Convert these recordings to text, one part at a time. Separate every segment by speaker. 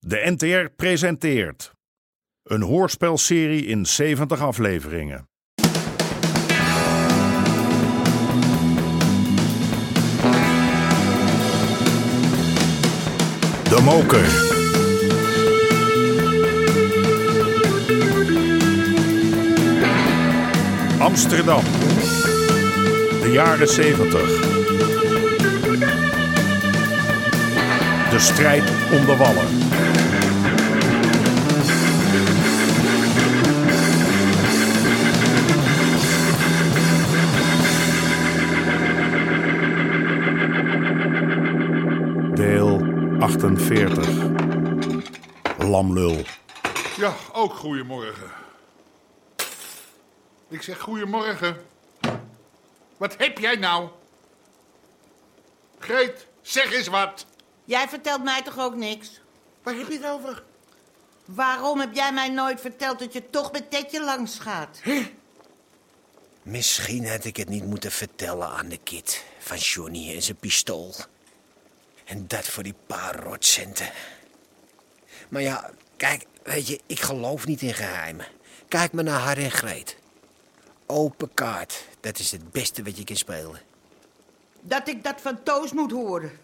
Speaker 1: De NTR presenteert een hoorspelserie in 70 afleveringen. De Moker. Amsterdam. De jaren 70. De strijd om de wallen. Deel 48. Lamlul.
Speaker 2: Ja, ook goedemorgen. Ik zeg goedemorgen. Wat heb jij nou? Greet, zeg eens wat.
Speaker 3: Jij vertelt mij toch ook niks?
Speaker 2: Waar heb je het over?
Speaker 3: Waarom heb jij mij nooit verteld dat je toch met Tetje langs gaat?
Speaker 4: Misschien had ik het niet moeten vertellen aan de kid van Johnny en zijn pistool. En dat voor die paar rotcenten. Maar ja, kijk, weet je, ik geloof niet in geheimen. Kijk maar naar haar en Greet. Open kaart, dat is het beste wat je kan spelen.
Speaker 3: Dat ik dat van Toos moet horen.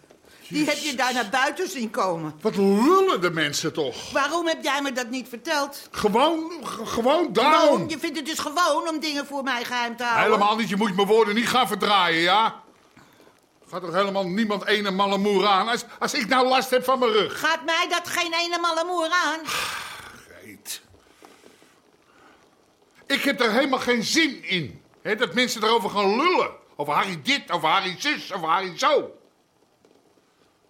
Speaker 3: Die heb je daar naar buiten zien komen.
Speaker 2: Wat lullen de mensen toch?
Speaker 3: Waarom heb jij me dat niet verteld?
Speaker 2: Gewoon, g- gewoon
Speaker 3: Waarom?
Speaker 2: down.
Speaker 3: Je vindt het dus gewoon om dingen voor mij geheim te houden.
Speaker 2: Helemaal niet, je moet mijn woorden niet gaan verdraaien, ja? Gaat toch helemaal niemand ene malle moer aan als, als ik nou last heb van mijn rug?
Speaker 3: Gaat mij dat geen ene malle moer aan?
Speaker 2: Greet. Ik heb er helemaal geen zin in. Hè, dat mensen erover gaan lullen. Over Harry dit, over Harry zus, over Harry zo.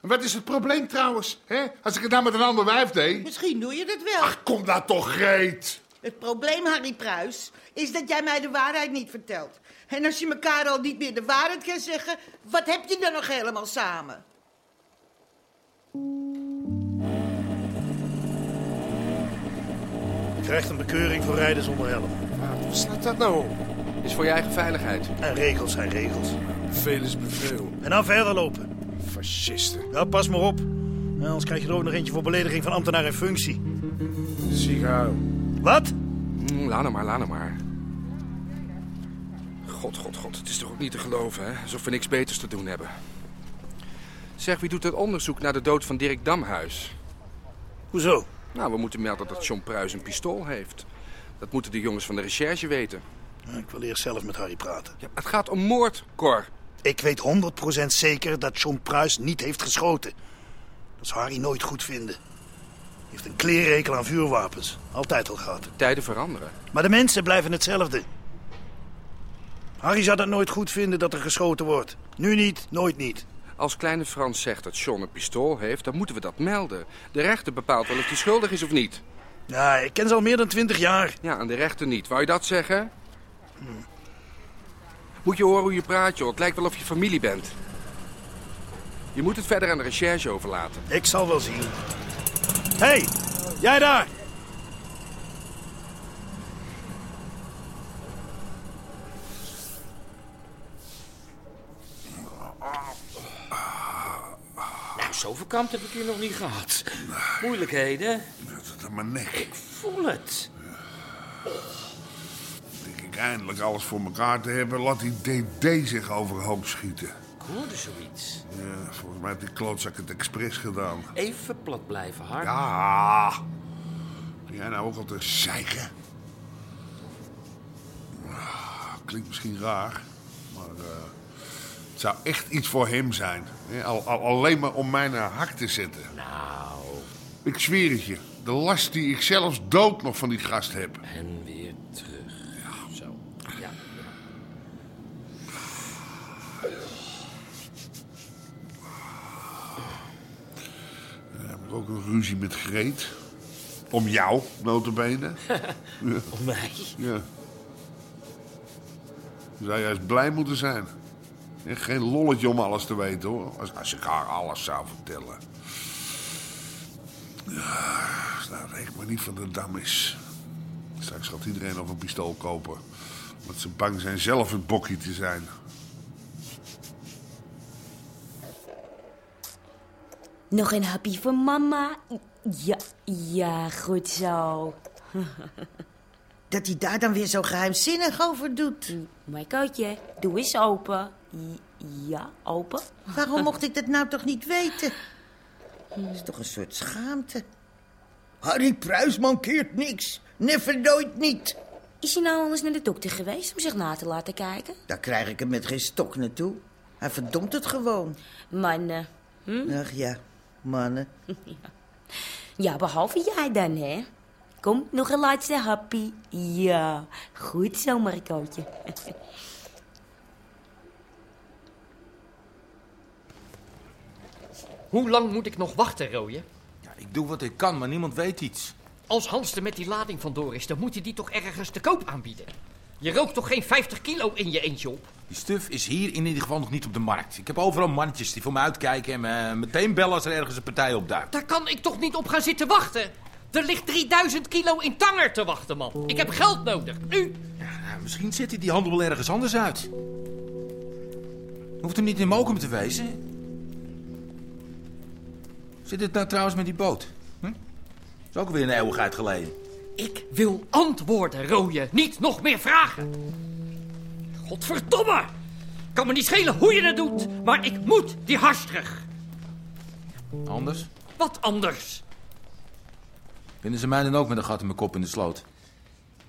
Speaker 2: En wat is het probleem trouwens? Hè? Als ik het nou met een ander wijf deed.
Speaker 3: Misschien doe je dat wel.
Speaker 2: Ach, kom daar toch, Greet.
Speaker 3: Het probleem, Harry Pruis, is dat jij mij de waarheid niet vertelt. En als je elkaar al niet meer de waarheid kan zeggen, wat heb je dan nog helemaal samen?
Speaker 5: krijgt een bekeuring voor rijden zonder helm.
Speaker 6: Wat slaat dat nou op? Is voor je eigen veiligheid.
Speaker 5: En regels zijn regels.
Speaker 6: Veel is beveel.
Speaker 5: En dan verder lopen.
Speaker 6: Fascisten.
Speaker 5: Ja, pas maar op. Ja, Anders krijg je er ook nog eentje voor belediging van ambtenaar in functie.
Speaker 6: Ziekenhuis.
Speaker 5: Wat?
Speaker 6: Mm, Laat hem maar, laat hem maar. God, god, god. Het is toch ook niet te geloven, hè? Alsof we niks beters te doen hebben. Zeg, wie doet dat onderzoek naar de dood van Dirk Damhuis?
Speaker 5: Hoezo?
Speaker 6: Nou, we moeten melden dat John Pruis een pistool heeft. Dat moeten de jongens van de recherche weten.
Speaker 5: Ja, Ik wil eerst zelf met Harry praten.
Speaker 6: Ja, het gaat om moord, Cor.
Speaker 5: Ik weet 100% zeker dat John Pruis niet heeft geschoten. Dat zou Harry nooit goed vinden. Hij heeft een kleerrekel aan vuurwapens. Altijd al gehad.
Speaker 6: Tijden veranderen.
Speaker 5: Maar de mensen blijven hetzelfde. Harry zou dat nooit goed vinden dat er geschoten wordt. Nu niet, nooit niet.
Speaker 6: Als kleine Frans zegt dat John een pistool heeft, dan moeten we dat melden. De rechter bepaalt wel of hij schuldig is of niet.
Speaker 5: Ja, ik ken ze al meer dan 20 jaar.
Speaker 6: Ja, aan de rechter niet. Wou je dat zeggen? Moet je horen hoe je praat, joh. Het lijkt wel of je familie bent. Je moet het verder aan de recherche overlaten.
Speaker 5: Ik zal wel zien. Hé, hey, jij daar!
Speaker 7: Nou, zoveel kamp heb ik hier nog niet gehad. Moeilijkheden,
Speaker 2: Dat is aan mijn nek.
Speaker 7: ik voel het.
Speaker 2: Denk ik eindelijk alles voor elkaar te hebben. Laat die DD zich overhoop schieten.
Speaker 7: Ik hoorde zoiets.
Speaker 2: Ja, volgens mij heeft die klootzak het expres gedaan.
Speaker 7: Even plat blijven, Harm.
Speaker 2: Ja. Ben jij nou ook al te zeiken? Ah, Klinkt misschien raar, maar eh, het zou echt iets voor hem zijn. Hè? Al, al- alleen maar om mij naar hak te zetten.
Speaker 7: Nou,
Speaker 2: Ik zweer het je, de last die ik zelfs dood nog van die gast heb.
Speaker 7: en weer terug. Zo, ja.
Speaker 2: Dan heb ik ook een ruzie met Greet. Om jou, notabene.
Speaker 7: Om mij.
Speaker 2: Ja. Je zou juist blij moeten zijn. En geen lolletje om alles te weten hoor. Als, als ik haar alles zou vertellen. Ja, nou, reken maar niet van de dam is. Straks gaat iedereen nog een pistool kopen. Omdat ze bang zijn zelf het bokkie te zijn.
Speaker 8: Nog een hapje voor mama. Ja, ja, goed zo.
Speaker 3: Dat hij daar dan weer zo geheimzinnig over doet.
Speaker 8: Mijn kootje, doe eens open. I- Ja, open.
Speaker 3: Waarom mocht ik dat nou toch niet weten? Dat is toch een soort schaamte. Harry Pruis mankeert niks. Never nooit niet.
Speaker 8: Is hij nou anders naar de dokter geweest om zich na te laten kijken?
Speaker 3: Daar krijg ik hem met geen stok naartoe. Hij verdomt het gewoon.
Speaker 8: Man, eh,
Speaker 3: Ach ja, mannen.
Speaker 8: ja, behalve jij dan, hè? Kom, nog een laatste happy. Ja, goed zo, Marcootje.
Speaker 9: Hoe lang moet ik nog wachten, Rooie?
Speaker 10: Ja, ik doe wat ik kan, maar niemand weet iets.
Speaker 9: Als Hans er met die lading vandoor is, dan moet hij die toch ergens te koop aanbieden. Je rookt toch geen 50 kilo in je eentje op?
Speaker 10: Die stuf is hier in ieder geval nog niet op de markt. Ik heb overal mannetjes die voor me uitkijken en me meteen bellen als er ergens een partij opduikt.
Speaker 9: Daar kan ik toch niet op gaan zitten wachten? Er ligt 3000 kilo in tanger te wachten, man. Ik heb geld nodig. Nu.
Speaker 10: Ja, nou, misschien zet hij die handel wel ergens anders uit. Hoeft hem niet in Mokum te wezen. Hoe Zit het nou trouwens met die boot? Hm? is ook weer een eeuwigheid geleden.
Speaker 9: Ik wil antwoorden, Rooie. Niet nog meer vragen. Godverdomme! Kan me niet schelen hoe je het doet, maar ik moet die hars terug.
Speaker 10: Anders?
Speaker 9: Wat anders?
Speaker 10: Vinden ze mij dan ook met een gat in mijn kop in de sloot?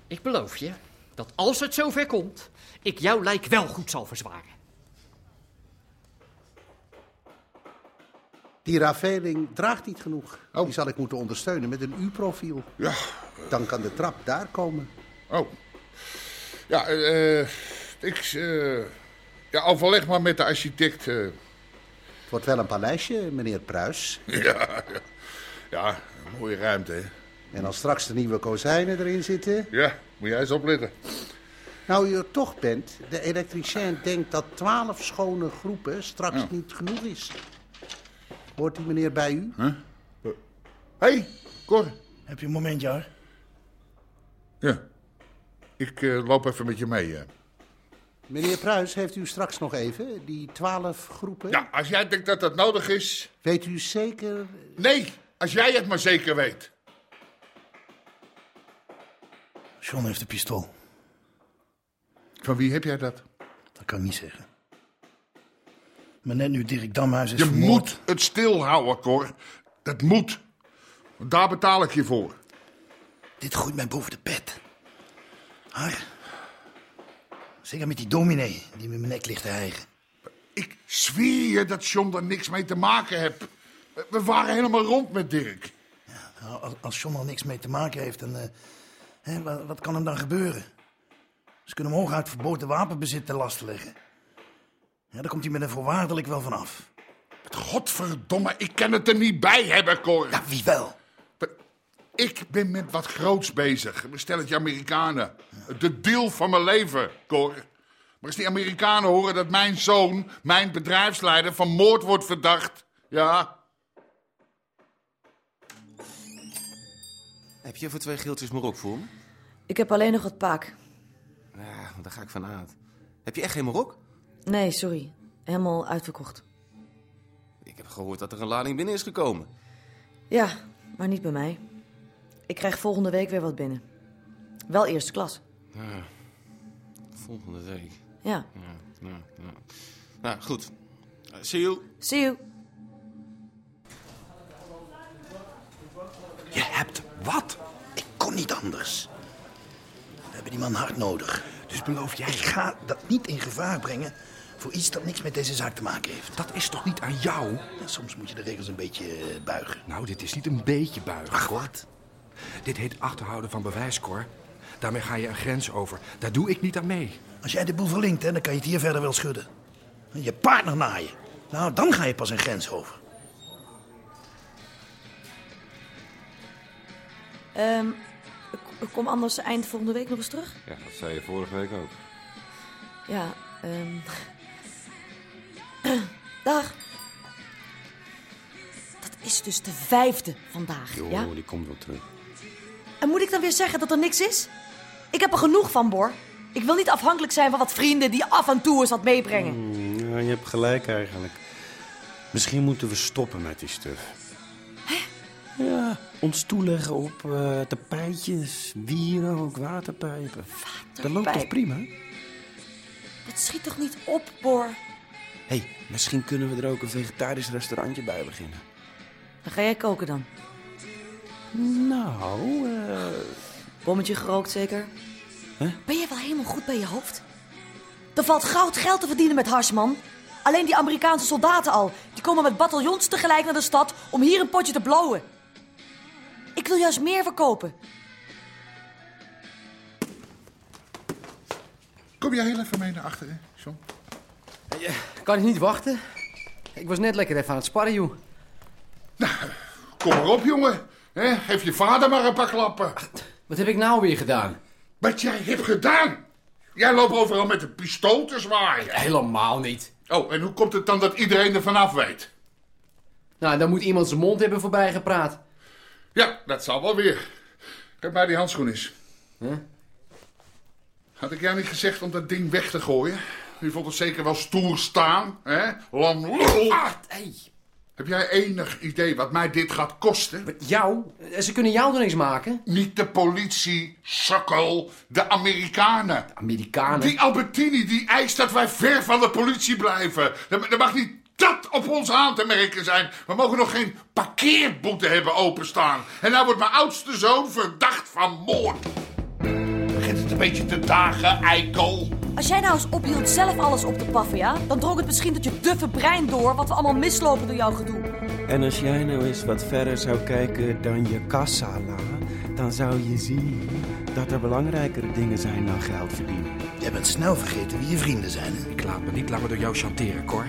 Speaker 9: Ik beloof je dat als het zover komt, ik jouw lijk wel goed zal verzwaren.
Speaker 11: Die raveling draagt niet genoeg.
Speaker 10: Oh.
Speaker 11: Die zal ik moeten ondersteunen met een U-profiel.
Speaker 2: Ja.
Speaker 11: Dan kan de trap daar komen.
Speaker 2: Oh. Ja, eh. eh, ik. eh, ja, overleg maar met de architect. eh.
Speaker 11: Het wordt wel een paleisje, meneer Pruis.
Speaker 2: ja, ja. Ja, mooie ruimte, hè?
Speaker 11: En als straks de nieuwe kozijnen erin zitten...
Speaker 2: Ja, moet jij eens opletten.
Speaker 11: Nou, u er toch bent, de elektricien denkt dat twaalf schone groepen straks
Speaker 2: Ja.
Speaker 11: niet genoeg is. Hoort die meneer bij u?
Speaker 2: Hé, hey, Cor.
Speaker 5: Heb je een momentje, hoor?
Speaker 2: Ja. Ik eh, loop even met je mee. eh.
Speaker 11: Meneer Pruis, heeft u straks nog even die twaalf groepen?
Speaker 2: Ja, Nou, als jij denkt dat dat nodig is.
Speaker 11: Weet u zeker...
Speaker 2: Nee, als jij het maar zeker weet.
Speaker 5: John heeft een pistool.
Speaker 2: Van wie heb jij dat?
Speaker 5: Dat kan ik niet zeggen. Maar net nu Dirk Damhuis is
Speaker 2: Je
Speaker 5: vermoord-
Speaker 2: moet het stilhouden, Cor. Dat moet. Want daar betaal ik je voor.
Speaker 5: Dit groeit mij boven de pet. Har. Zeker met die dominee die met mijn nek ligt te hijgen.
Speaker 2: Ik zweer je dat John daar niks mee te maken heeft. We waren helemaal rond met Dirk.
Speaker 5: Nou, als- Als John al niks mee te maken heeft, dan, eh, hè, wa- wat, kan hem dan gebeuren? Ze kunnen hem hooguit verboden wapenbezit ten laste leggen. Ja, daar komt hij met een voorwaardelijk wel vanaf.
Speaker 2: Godverdomme, ik kan het er niet bij hebben, Cor.
Speaker 5: Ja, wie wel?
Speaker 2: Ik ben met wat groots bezig. Stel het je Amerikanen. De deal van mijn leven, Cor. Maar als die Amerikanen horen dat mijn zoon, mijn bedrijfsleider, van moord wordt verdacht. Ja,
Speaker 10: Heb je voor twee geeltjes Marok voor me?
Speaker 12: Ik heb alleen nog het paak.
Speaker 10: Ja, daar ga ik van uit. Heb je echt geen Marok?
Speaker 12: Nee, sorry. Helemaal uitverkocht.
Speaker 10: Ik heb gehoord dat er een lading binnen is gekomen.
Speaker 12: Ja, maar niet bij mij. Ik krijg volgende week weer wat binnen. Wel eerste klas.
Speaker 10: Ja, volgende week.
Speaker 12: Ja.
Speaker 10: Ja, ja, ja. Nou, goed. Eh, See you.
Speaker 12: See you.
Speaker 5: Je hebt wat? Ik kon niet anders. We hebben die man hard nodig. Dus beloof jij... Ik ga dat niet in gevaar brengen voor iets dat niks met deze zaak te maken heeft.
Speaker 10: Dat is toch niet aan jou?
Speaker 5: Ja, soms moet je de regels een beetje eh, buigen.
Speaker 6: Nou, dit is niet een beetje buigen. Ach, wat? Dit heet achterhouden van bewijs, Cor. Daarmee ga je een grens over. Daar doe ik niet aan mee.
Speaker 5: Als jij de boel verlinkt, hè, dan kan je het hier verder wel schudden. En Je partner naaien. Nou, dan ga je pas een grens over.
Speaker 12: Ehm, ik- ik kom anders eind volgende week nog eens terug.
Speaker 13: Ja, dat zei je vorige week ook.
Speaker 12: Ja. ehm. Dag. Dat is dus de vijfde vandaag,
Speaker 13: Joh,
Speaker 12: ja?
Speaker 13: die komt wel terug.
Speaker 12: En moet ik dan weer zeggen dat er niks is? Ik heb er genoeg van, Bor. Ik wil niet afhankelijk zijn van wat vrienden die af en toe eens wat meebrengen.
Speaker 13: Hmm, ja, je hebt gelijk eigenlijk. Misschien moeten we stoppen met die stuf. Ja, ons toeleggen op eh, tapijtjes, wieren, ook waterpijpen. Dat loopt toch
Speaker 12: Waterpijp.
Speaker 13: prima?
Speaker 12: Dat schiet toch niet op, Bor?
Speaker 13: Hé, hey, misschien kunnen we er ook een vegetarisch restaurantje bij beginnen.
Speaker 12: Dan ga jij koken dan.
Speaker 13: Nou, eh...
Speaker 12: Bommetje gerookt zeker?
Speaker 13: Hè?
Speaker 12: Ben je wel helemaal goed bij je hoofd? Er valt goud geld te verdienen met hash, man. Alleen die Amerikaanse soldaten al. Die komen met bataljons tegelijk naar de stad om hier een potje te blowen. Ik wil juist meer verkopen.
Speaker 2: Kom jij heel even mee naar achteren, John?
Speaker 14: Kan ik niet wachten? Ik was net lekker even aan het sparren, joh.
Speaker 2: Kom maar op, jongen. Hè, geef je vader maar een paar klappen.
Speaker 14: Wat heb ik nou weer gedaan?
Speaker 2: Wat jij hebt gedaan? Jij loopt overal met een pistool te zwaaien.
Speaker 14: Helemaal niet.
Speaker 2: Oh, en hoe komt het dan dat iedereen er vanaf weet?
Speaker 14: Nou, dan moet iemand zijn mond hebben voorbij gepraat.
Speaker 2: Ja, dat zal wel weer. Kijk maar die handschoen eens.
Speaker 14: Huh?
Speaker 2: Had ik jou niet gezegd om dat ding weg te gooien? Je vond het zeker wel stoer staan, hè? Lam lul. Heb jij enig idee wat mij dit gaat kosten?
Speaker 14: jou? eh, Ze kunnen jou er niks maken.
Speaker 2: Niet de politie, sukkel. De Amerikanen.
Speaker 14: Amerikanen?
Speaker 2: Die Albertini die eist dat wij ver van de politie blijven. Er, er mag niet dat op ons aan te merken zijn. We mogen nog geen parkeerboete hebben openstaan. En nou wordt mijn oudste zoon verdacht van moord. Begint het een beetje te dagen, eikel?
Speaker 12: Als jij nou eens ophield zelf alles op te paffen, ja? Dan drong het misschien tot je duffe brein door wat we allemaal mislopen door jouw gedoe.
Speaker 13: En als jij nou eens wat verder zou kijken dan je kassala, dan zou je zien dat er belangrijkere dingen zijn dan geld verdienen.
Speaker 5: Jij bent snel vergeten wie je vrienden zijn.
Speaker 6: Ik laat me niet langer door jou chanteren, Cor.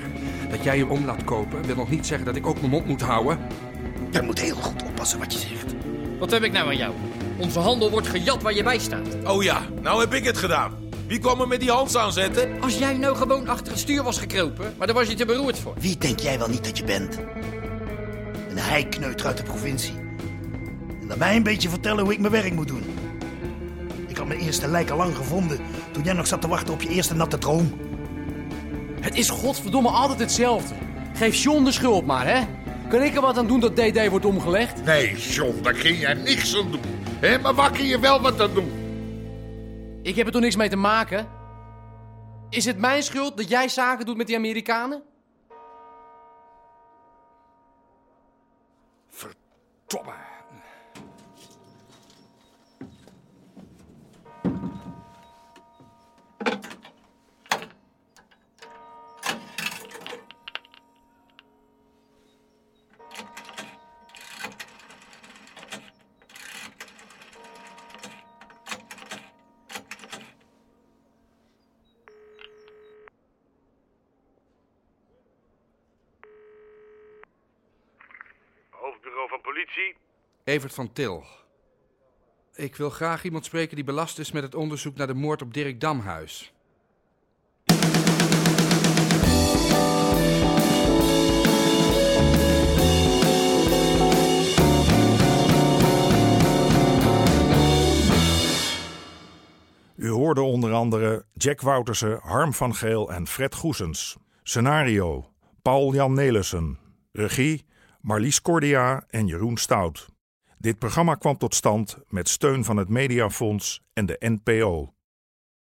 Speaker 6: Dat jij hem om laat kopen wil nog niet zeggen dat ik ook mijn mond moet houden.
Speaker 5: Jij moet heel goed oppassen wat je zegt.
Speaker 9: Wat heb ik nou aan jou? Onze handel wordt gejat waar je bij staat.
Speaker 10: Oh ja, nou heb ik het gedaan. Wie kwam er met die hand aanzetten?
Speaker 9: Als jij nou gewoon achter het stuur was gekropen, maar daar was je te beroerd voor.
Speaker 5: Wie denk jij wel niet dat je bent? Een heikneuter uit de provincie. En dan mij een beetje vertellen hoe ik mijn werk moet doen. Ik had mijn eerste lijk al lang gevonden toen jij nog zat te wachten op je eerste natte droom.
Speaker 14: Het is godverdomme altijd hetzelfde. Geef John de schuld maar, hè? Kan ik er wat aan doen dat DD wordt omgelegd?
Speaker 2: Nee, John, daar kun jij niks aan doen. Hé, maar waar kun je wel wat aan doen?
Speaker 14: Ik heb er toch niks mee te maken? Is het mijn schuld dat jij zaken doet met die Amerikanen?
Speaker 6: Verdomme.
Speaker 15: Hoofdbureau van politie.
Speaker 6: Evert van Til. Ik wil graag iemand spreken die belast is met het onderzoek naar de moord op Dirk Damhuis.
Speaker 1: U hoorde onder andere Jack Woutersen, Harm van Geel en Fred Goesens. Scenario: Paul-Jan Nelissen. Regie: Marlies Cordia en Jeroen Stout. Dit programma kwam tot stand met steun van het Mediafonds en de NPO.